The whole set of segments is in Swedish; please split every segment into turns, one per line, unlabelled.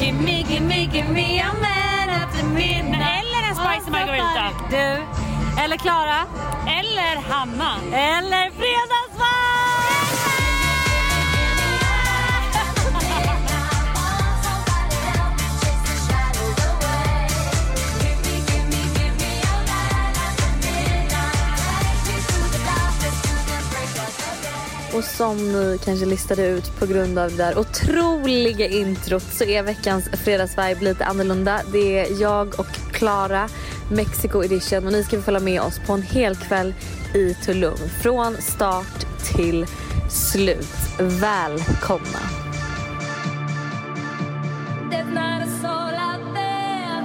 gimme, gimme, gimme a man after midnight.
Eller en spicy margarita.
Du. Eller Klara.
Eller Hanna.
Eller
Och som ni kanske listade ut på grund av det där otroliga introt så är veckans fredagsvibe lite annorlunda. Det är jag och Klara, Mexico edition och ni ska få följa med oss på en hel kväll i Tulum. Från start till slut. Välkomna!
There's not a soul out there.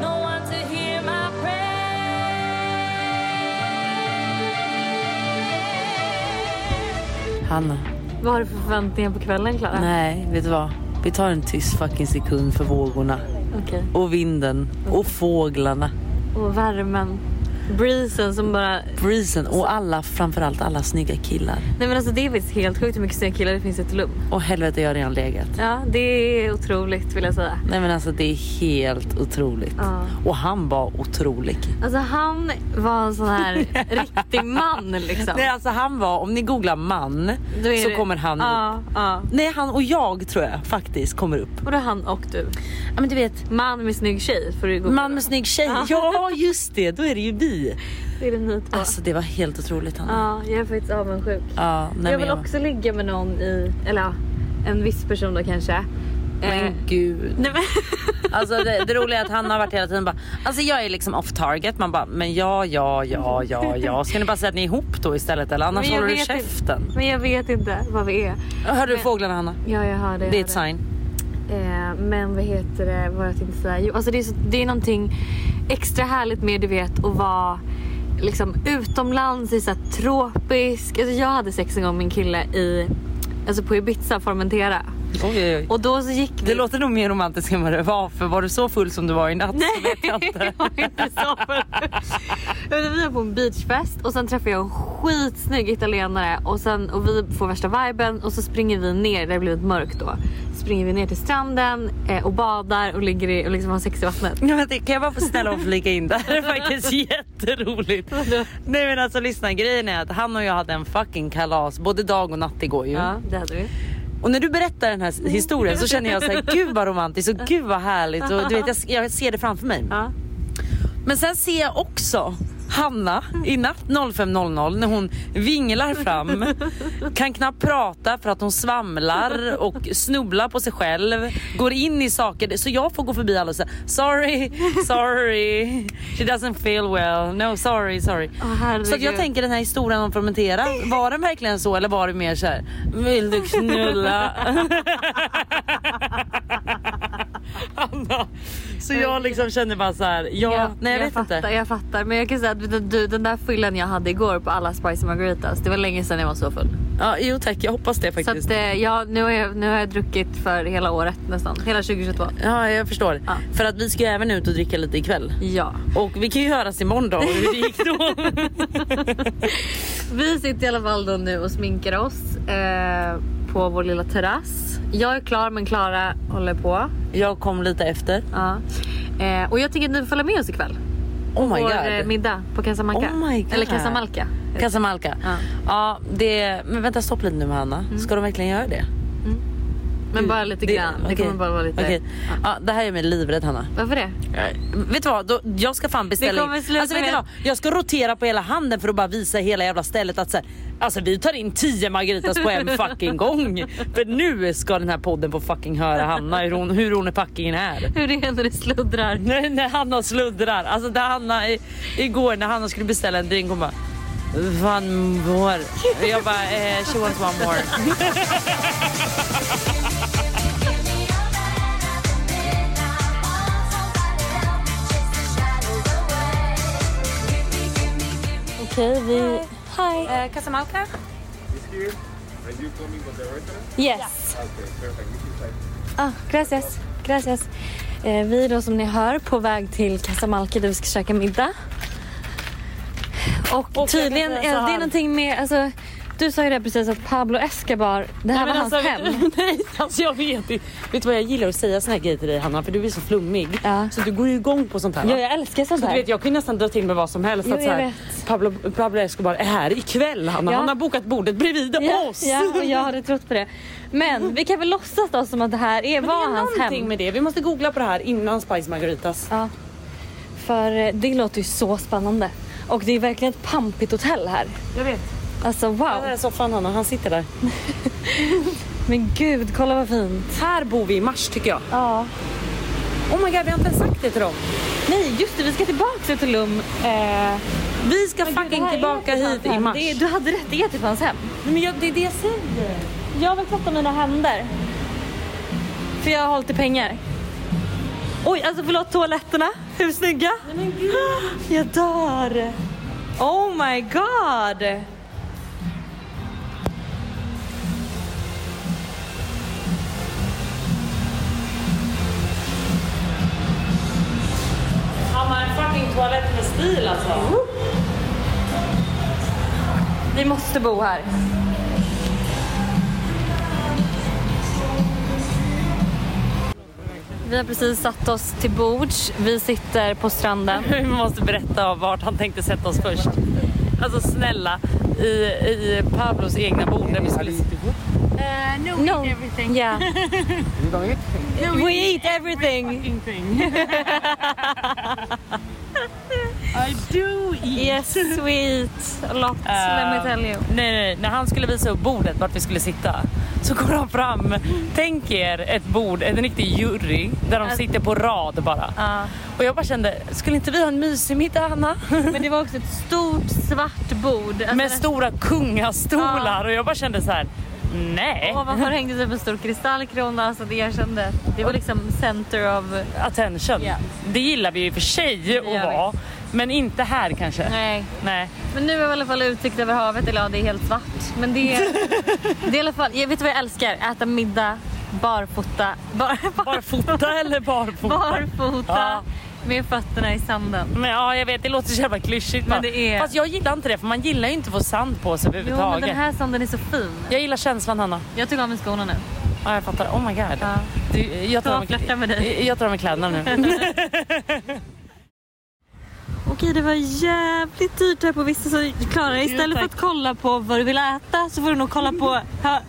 No one to hear my prayer.
Hanna,
Vad har du för förväntningar på kvällen Klara?
nej, vet du vad? Vi tar en tyst fucking sekund för vågorna.
Okej.
Och vinden. Och fåglarna.
Och värmen. Breezen som bara...
Breezen. Och alla, framförallt alla snygga killar.
Nej men alltså det är faktiskt helt sjukt hur mycket snygga killar det finns i Tulum.
Och helvete, jag har redan legat.
Ja, det är otroligt vill jag säga.
Nej men alltså det är helt otroligt.
Ja.
Och han var otrolig.
Alltså han var en sån här riktig man liksom.
Nej alltså han var, om ni googlar man
Då är
så
det-
kommer han upp.
Ja, ja.
Nej han och jag tror jag faktiskt kommer upp.
Och då han och du.
Ja men du vet,
Man med snygg tjej får du gå
man med snygg tjej. Ja just det, då är det ju vi.
Det är det ni två.
Alltså det var helt otroligt Hanna.
Ja, jag är faktiskt avundsjuk.
Ja, nej,
jag
men
vill
jag-
också ligga med någon i, eller ja, en viss person då kanske. Eh,
Men gud.
nej men,
Alltså det, det roliga är att han har varit hela tiden bara, alltså jag är liksom off target. Man bara, men ja, ja, ja, ja, ja. Ska ni bara säga att ni är ihop då istället eller annars
Men jag
håller du
vet inte.
käften.
men jag vet inte vad vi är.
Hörde du fåglarna Hanna?
Ja, jag hör det.
Det är
jag
ett
hör
sign.
Eh, men vad heter det, vad jag tänkte säga. Jo, alltså det, är så, det är någonting extra härligt med du vet att vara liksom utomlands i så här tropisk. Alltså jag hade sex en gång med en kille i, alltså på Ibiza, Formentera.
Oj, oj, oj.
Och då så gick vi...
Det låter nog mer romantiskt än vad det var för var du så full som du var i natt så vet jag inte.
Det var inte så förut. Utan Vi var på en beachfest och sen träffade jag en skitsnygg italienare och, sen, och vi får värsta viben och så springer vi ner, det har blivit mörkt då. Springer vi ner till stranden eh, och badar och ligger i, och liksom har sex i vattnet.
Ja, men det- kan jag bara få snälla och flika in där? Det är faktiskt jätteroligt. Nej men alltså lyssna grejen är att han och jag hade en fucking kalas både dag och natt igår ju.
Ja, det hade vi.
Och när du berättar den här historien så känner jag så här, gud vad romantiskt och gud vad härligt och du vet jag, jag ser det framför mig.
Ja.
Men sen ser jag också Hanna i natt 05.00 när hon vinglar fram, kan knappt prata för att hon svamlar och snubblar på sig själv, går in i saker. Så jag får gå förbi alla och säga sorry, sorry, she doesn't feel well, no sorry, sorry.
Åh, herregud.
Så att jag tänker den här historien om fermentera, var den verkligen så eller var det mer så här, vill du knulla? Hanna. Så jag liksom känner bara så här, ja, nej jag, vet
fattar,
inte.
Jag fattar men jag kan säga att du, den där fyllan jag hade igår på alla spicy margaritas, det var länge sedan jag var så full.
Ja, jo tack, jag hoppas det
Så att,
faktiskt.
eh, ja, nu, har jag, nu har jag druckit för hela året nästan, hela 2022.
Ja, jag förstår.
Ja.
För att vi ska ju även ut och dricka lite ikväll.
Ja.
Och vi kan ju höras imorgon då hur det gick då.
Vi sitter i alla fall då nu och sminkar oss eh, på vår lilla terrass. Jag är klar men Klara håller på.
jag kom lite efter.
Ja. Eh, och jag tänker att ni får följa med oss ikväll.
Oh my
vår eh,
god.
middag på Casamarca.
Oh my God.
Eller Casamalca.
Casamalca.
Ja.
Ja. Mm. det, men vänta stopp lite nu Hanna. Ska de verkligen göra det?
Men bara lite grann. Det
Mm. okej.
kommer bara vara lite...
Okej. Ja. det här gör mig livrädd Hanna.
Varför det?
Vet du vad, då, jag ska fan
Det
beställa
kommer sluta
alltså, vet du
med-
vad? Jag ska rotera på hela handen för att bara visa hela jävla stället att så här, alltså, vi tar in 10 margaritas på en fucking gång. För nu ska den här podden få fucking höra Hanna hur hon, hur hon är fucking är.
Hur det är när det sluddrar.
När, när Hanna sluddrar, alltså där Hanna i, igår när Hanna skulle beställa en drink hon bara One more. Jag bara eh, she wants one more.
Okej, vi... Hi.
Eh, Casamalca?
here and you're coming from the restaurant?
Yes.
Okay, perfect. This is like
Ah, gracias. Gracias. Eh, vi är då som ni hör på väg till Casamalca där vi ska käka middag. Och,
jag kan
tydligen,
säga
eh,
så
det är
här.
någonting med, alltså Du sa ju det precis att Pablo Escobar, det
Nej,
här var
men
hans hem.
alltså, Nej, alltså jag vet inte. Vet du vad jag gillar att säga såna här grejer till dig Hanna? För du är så flummig.
Ja.
Så du går ju igång på sånt här. va?
Ja, jag älskar sånt
Så du
här.
vet, jag kan ju nästan dra till med vad som helst.
Jo,
att så
jag
här, Pablo, Pablo Escobar är här ikväll Hanna.
Ja.
Han har bokat bordet bredvid
Ja,
oss.
ja, och jag hade trott på det. Men vi kan väl låtsas då som att det här är,
Men det
var
är
hans
någonting
hem.
med det. Vi måste googla på det här innan Spice Margaritas.
Ja. För eh, det låter ju så spännande. Och det är verkligen ett pampigt hotell här.
Jag vet.
Alltså
Den här
wow.
soffan Hanna, han sitter där.
Men gud, kolla vad fint.
Här bor vi i mars tycker jag.
Ja.
Oh my god, vi har inte ens sagt det till dem.
Nej, just det, vi ska tillbaka till Tulum. Eh,
Vi ska
men gud, det
fucking
här är
tillbaka
ju till
hit
hans
i
hem.
mars.
Det är, du hade rätt, det är typ hans hem.
Nej, men jag, det är det jag säger.
Jag vill tvätta mina händer. För jag har hållit i pengar. Oj, alltså förlåt toaletterna. Hur snygga? Nej, men gud. Jag dör. Oh my god.
Han har en fucking toalett med stil alltså.
Vi måste bo här. Vi har precis satt oss till bords. Vi sitter på stranden.
Vi måste berätta om vart han tänkte sätta oss först. Alltså snälla, i, i Pablos egna bord. Där vi skulle...
Uh, no,
No.
eat everything.
Yeah.
You don't eat?
No,
We
eat
eat everything.
fucking thing. I do eat.
Yes, sweet. A lot, let me tell you.
Äh, Nej, nej, när han skulle visa upp bordet vart vi skulle sitta så går han fram. Tänk er ett bord, en riktig jury där de sitter på rad bara.
Äh. Ja.
Och jag bara kände, skulle inte vi ha en mysig middag Anna?
Men det var också ett stort svart bord. Alltså,
Med stora kungastolar och jag bara kände så här. nej.
Ovanför hängde typ en stor kristallkrona så det jag kände. Det var liksom center of...
Attention.
Ja.
Det gillar vi ju i och för sig
gör
att vara. Men inte här kanske.
Nej.
Nej.
Men nu har vi i alla fall utsikt över havet. Eller ja, det är helt svart. Men det är, det är i alla fall... Jag vet vad jag älskar? Äta middag, barfota. Bar, bar,
Barfota eller barfota?
barfota
Ja.
med fötterna i sanden.
Men ja, jag vet, det låter så jävla klyschigt.
Men
va?
det är-
Fast jag gillar inte det, för man gillar ju inte att få sand på sig
Jo, men
överhuvudtaget.
den här sanden är så fin.
Jag gillar känslan, Hanna.
Jag tog av mig skorna nu.
Ja, jag fattar. Oh my god.
Ja.
Du, jag, tar
Jag
av mig-
flörtar med dig.
jag tar av mig kläderna nu.
Okej, det var jävligt dyrt här på vissa så Klara, istället för
tack.
att kolla på vad du vill äta så får du nog kolla på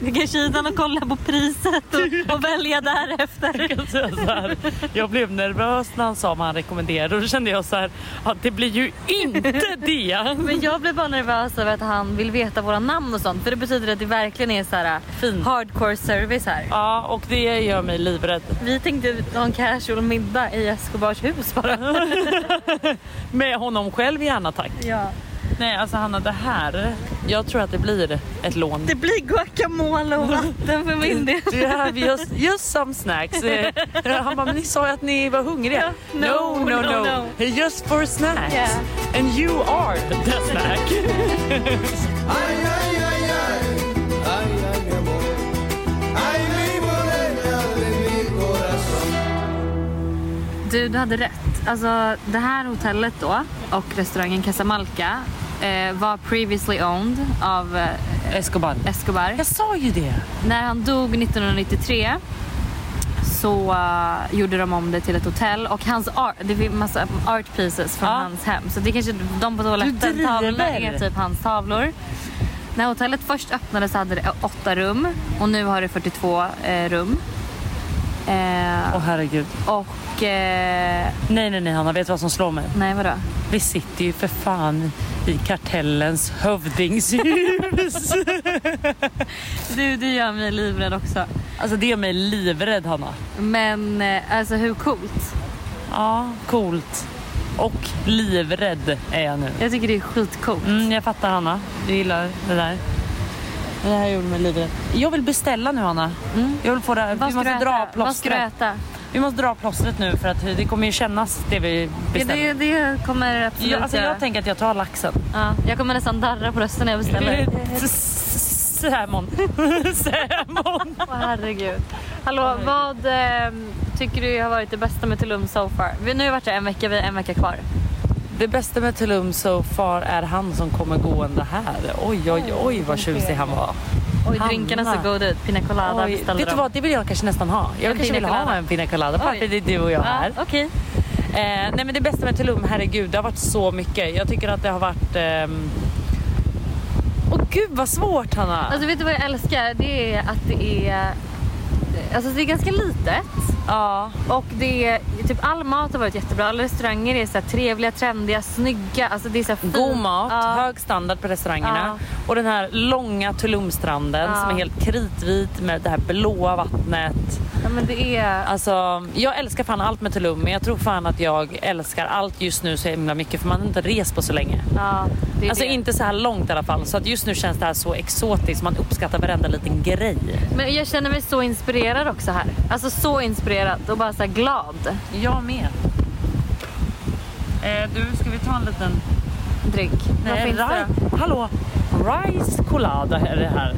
högersidan och kolla på priset och, och välja därefter.
Jag kan säga så här, jag blev nervös när han sa vad han rekommenderade och då kände jag så här att det blir ju inte det.
Men jag blev bara nervös över att han vill veta våra namn och sånt för det betyder att det verkligen är så här
Fint.
hardcore service här.
Ja, och det gör mig livrädd.
Vi tänkte ha en casual middag i Escobars hus bara.
Med honom själv gärna tack.
Ja.
Nej, alltså Hanna, det här. Jag tror att det blir ett lån.
Det blir guacamole och vatten för min del.
Do you have just, just some snacks? Eh, Han bara, men ni sa ju att ni var hungriga.
Ja, no,
no,
no,
no,
no.
Just for snacks.
Yeah.
And you are the snack.
Ay, ay, ay, ay, ay, ay, mi amor. Ay, mi morena de mi corazón.
Du, du hade rätt. Alltså, det här hotellet då och restaurangen Casamalca eh, var previously owned av eh,
Escobar.
Escobar.
Jag sa ju det.
När han dog 1993 så eh, gjorde de om det till ett hotell och hans art, det finns massa art pieces från
Ja.
hans hem. Så det kanske de på toaletten,
driver.
tavlorna är typ hans tavlor. När hotellet först öppnades hade det åtta rum och nu har det 42 eh, rum. Eh,
Åh herregud.
och... Eh,
Nej, nej, nej Hanna, vet du vad som slår mig?
nej, vadå?
Vi sitter ju för fan i kartellens hövdingshus.
Du, det gör mig livrädd också.
alltså det gör mig livrädd Hanna.
Men eh, alltså hur coolt?
Ja, coolt. Och livrädd är jag nu.
Jag tycker det är skitcoolt.
Mm, jag fattar Hanna. Du gillar det där. Det här gjorde mig livrädd. Jag vill beställa nu Hanna. Mm. Jag vill få det.
Vad
Vi
ska, du
måste
äta?
dra
Vad ska du
plåstret.
äta?
Vi måste dra plåstret nu för att det kommer ju kännas det vi
Ja,
beställer.
det, det kommer absolut
jag, alltså,
göra.
jag tänker att jag tar laxen.
ja, jag kommer nästan darra på rösten när jag beställer.
Sämon. Sämon.
Åh, herregud. Hallå, vad ehm, eh, tycker du har varit det bästa med Tulum so far? Vi, nu har vi varit där en vecka, vi har en vecka kvar.
Det bästa med Tulum so far är han som kommer gående här. Oj, oj, oj vad tjusig han var.
Oj,
Hanna.
drinkarna så goda ut. Pina colada
Oj,
beställde
vet du
de.
vad, det vill jag kanske nästan ha. Jag
En
kanske vill
pina
ha
colada.
en pina colada.
Oj.
Varför det är du och jag här?
Ja, Okej.
Eh, nej men det bästa med Tulum, herregud det har varit så mycket. Jag tycker att det har varit... ehm, Åh gud vad svårt Hanna!
Alltså vet du vad jag älskar? Det är att det är... Alltså det är ganska litet.
ja.
Och det är, typ all mat har varit jättebra. Alla restauranger är så här trevliga, trendiga, snygga. Alltså det är så här fint.
God mat,
Ja.
hög standard på restaurangerna.
Ja.
Och den här långa Tulumstranden
Ja.
som är helt kritvit med det här blåa vattnet.
Ja men det är...
Alltså, jag älskar fan allt med Tulum men jag tror fan att jag älskar allt just nu så himla mycket för man har inte rest på så länge.
Ja, det är
Alltså
det.
inte så här långt i alla fall så att just nu känns det här så exotiskt. Man uppskattar varenda liten grej.
Men jag känner mig så inspirerad också här. Alltså så inspirerad och bara så här glad.
Jag med. Eh, du, ska vi ta en liten...
Drink. Vad finns det då?
ri- Hallå! Rice colada är det här.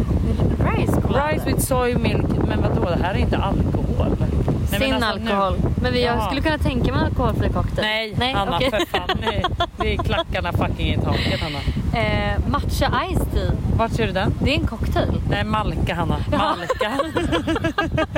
Rice colada.
Rice with soy milk. Men vadå, det här är inte alkohol. Nej, men
Sin
alltså nu-
alkohol. Men vi, jag
Jaha.
skulle kunna tänka mig en alkoholfri cocktail.
Nej, Hanna
okej.
för fan. Nej, det är klackarna fucking i taket Hanna.
eh, matcha ice tea.
Vart ser du den?
Det är en cocktail.
Nej, Malka Hanna. Malka.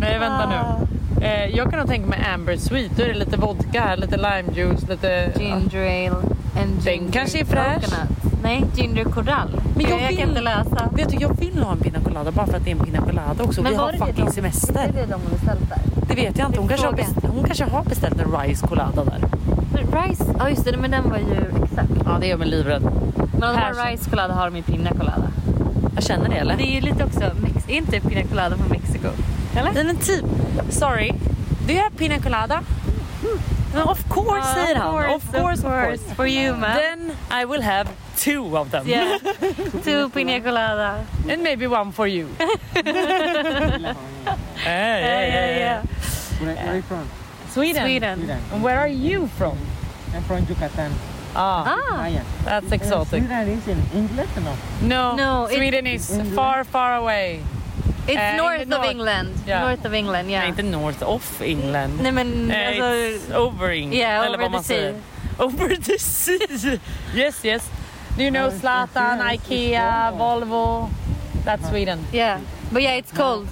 Nej, vänta
Ah.
nu. Eh, jag kan nog tänka mig Amber Sweet. Då är det lite vodka här, lite lime juice, lite...
Ginger ale and ginger
kanske är fräsch.
coconut. Nej, ginger korall.
Men jag
jag,
vill-
kan inte läsa.
Vet du, jag vill ha en pina colada bara för att det är en pina colada också.
Men
Vi
var
har
det det
fucking
de-
semester.
det de har beställt där?
Det vet jag inte. Hon kanske, har
Fråga.
beställt, hon kanske har beställt en rice colada där.
Men rice, ja just det, men den var ju exakt.
Ja, det gör mig livrädd.
Men om de har
Persson.
rice colada har de ju pina colada.
Jag känner det eller?
Det är ju lite också, Mex- är inte pina colada från Mexiko? Eller?
Nej men typ, sorry. Do you have pina colada? Men of course
Ja,
säger han.
of
Of course, of course.
For you man.
Then I will have two of them.
Yeah. Two pina colada.
And maybe one for you. yeah, yeah, yeah, yeah.
Where, where are you from?
Sweden.
Sweden.
Sweden.
And where are you from?
I'm from Yucatan.
Ah,
Ah,
Maya.
that's
Uh,
exotic.
Sweden is in English, no?
No,
No, it-
Sweden is far, far away.
it's
Eh,
north of
north.
England.
Ja.
North of England, ja.
Nej, inte north of England.
Nej men
Eh,
alltså,
it's over England.
Yeah,
eller
over
vad
the
man säger. Over the sea. yes, yes. Do you know Zlatan, Ikea, Volvo? That's Sweden.
yeah. But yeah, it's cold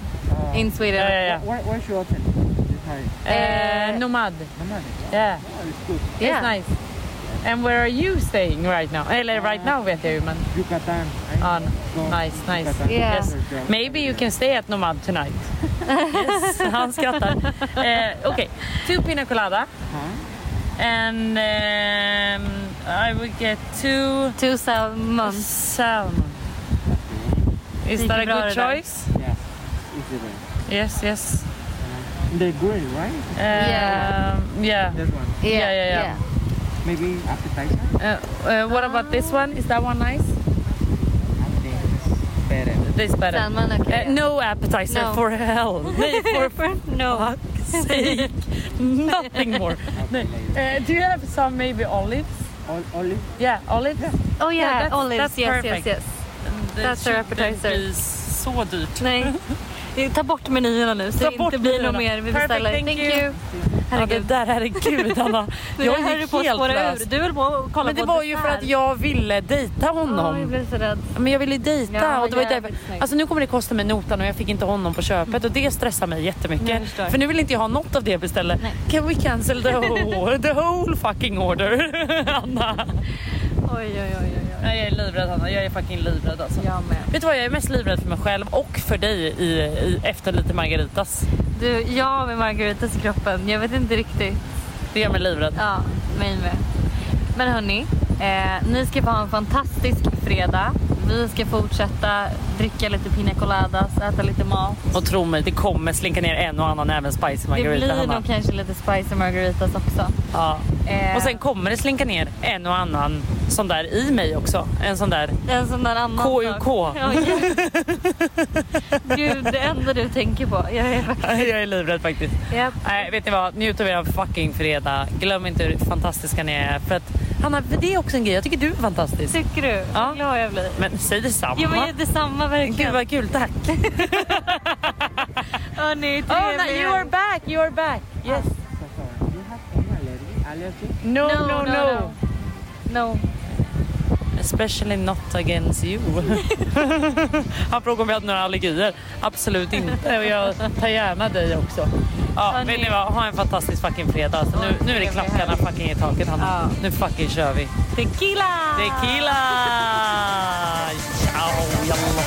in Sweden.
Ja, ja, ja.
Where, where's your hotel? This high.
Eh,
Eh,
nomad.
No matter.
Yeah,
Oh, it's good.
it's nice. And where are you staying right now? Eller right
Eh.
now vet jag ju men...
Yucatan.
Ah,
I go
nice, nice.
Yucatan.
Yeah.
Yes.
Yeah.
Maybe you can stay at Nomad tonight. yes, han skrattar. Eh, Okej, two pina colada.
Uh-huh.
And ehm, I will get two
Two salmon.
salmon. Is
Gick
that a
bra
good
det där.
choice?
Yes. It's the best.
Yes, yes.
The grill, right?
Um, yeah.
This one.
Ja, ja, ja.
Maybe appetizer?
Uh, uh, what about this one? Is that one nice?
I think it's better.
This better.
Salmon, okej.
Eh, no appetizer
No.
for hell. Nej, for
no.
sake. Nothing more.
Okay, later.
Eh, do you have some maybe olives?
Ol- olive?
Yeah, olives.
Oh yeah,
that's-
olives.
that's
yes,
perfect.
yes, yes. That's our appetizer.
så dyrt.
Nej. Ta bort menyerna nu så
Ta
det
bort
inte blir
menyerna.
något mer. Vi
Perfect,
beställer.
thank you. Ja, det
Herregud.
där herregud Anna.
Nu
Jag
höll du
gick
på att
helt
spåra ur.
lös.
Du höll på att kolla
Men det
på
var ju för att jag ville dejta
Ja,
honom.
jag blev så rädd.
Men jag ville dejta
Ja,
och det var ju
jävligt
därför.
snyggt.
Alltså nu kommer det kosta mig notan och jag fick inte honom på köpet och det stressar mig
Jag
jättemycket.
förstår.
För nu vill inte jag ha något av det jag beställde.
Nej.
Can we cancel the whole, the whole fucking order? Anna.
Oj, oj, oj. oj, oj.
Nej, jag är livrädd Anna, jag är fucking livrädd alltså.
Jag med.
Vet du vad, jag är mest livrädd för mig själv och för dig i, i, efter lite margaritas.
Du, jag med Margaritas i kroppen. Jag vet inte riktigt.
Det gör mig livrädd.
Ja, mig med. Men hörni, eh, ni ska få ha en fantastisk fredag. Vi ska fortsätta dricka lite pina coladas, äta lite mat.
Och tro mig, det kommer slinka ner en och annan även spicy
Det
margarita
blir
Hanna.
nog kanske lite spicy margaritas också.
Ja.
Eh,
Och sen kommer det slinka ner en och annan sån där i mig också. En sån där
en sån där annan
KUK.
sak. Ja, ja. Gud, det enda du tänker på. Jag är faktiskt...
Jag är livrädd faktiskt.
Japp.
Nej, vet ni vad? Njut av er fucking fredag. Glöm inte hur fantastiska ni är. För att, Hanna, det är också en grej. Jag tycker du är fantastisk.
Tycker du?
Ja.
Vad glad jag blir.
Men säg detsamma.
Jo men det är detsamma
Gud
verkligen.
vad kul, tack.
Hörni,
Oh, no, you
trevlig
are back, Oh, you are back. Yes.
So sorry. Do you have any allergy? I allergy?
No,
No, no, no. No.
Especially not against you. Han frågade om jag hade några allergier. Absolut inte. Och jag tar gärna dig också. Ja,
Hörni.
vill ni vad? Ha en fantastisk fucking fredag. Alltså, nu, nu är det klackarna fucking i taket, Hanna. Nu fucking kör vi.
Tequila!
Tequila! Ciao, jalla.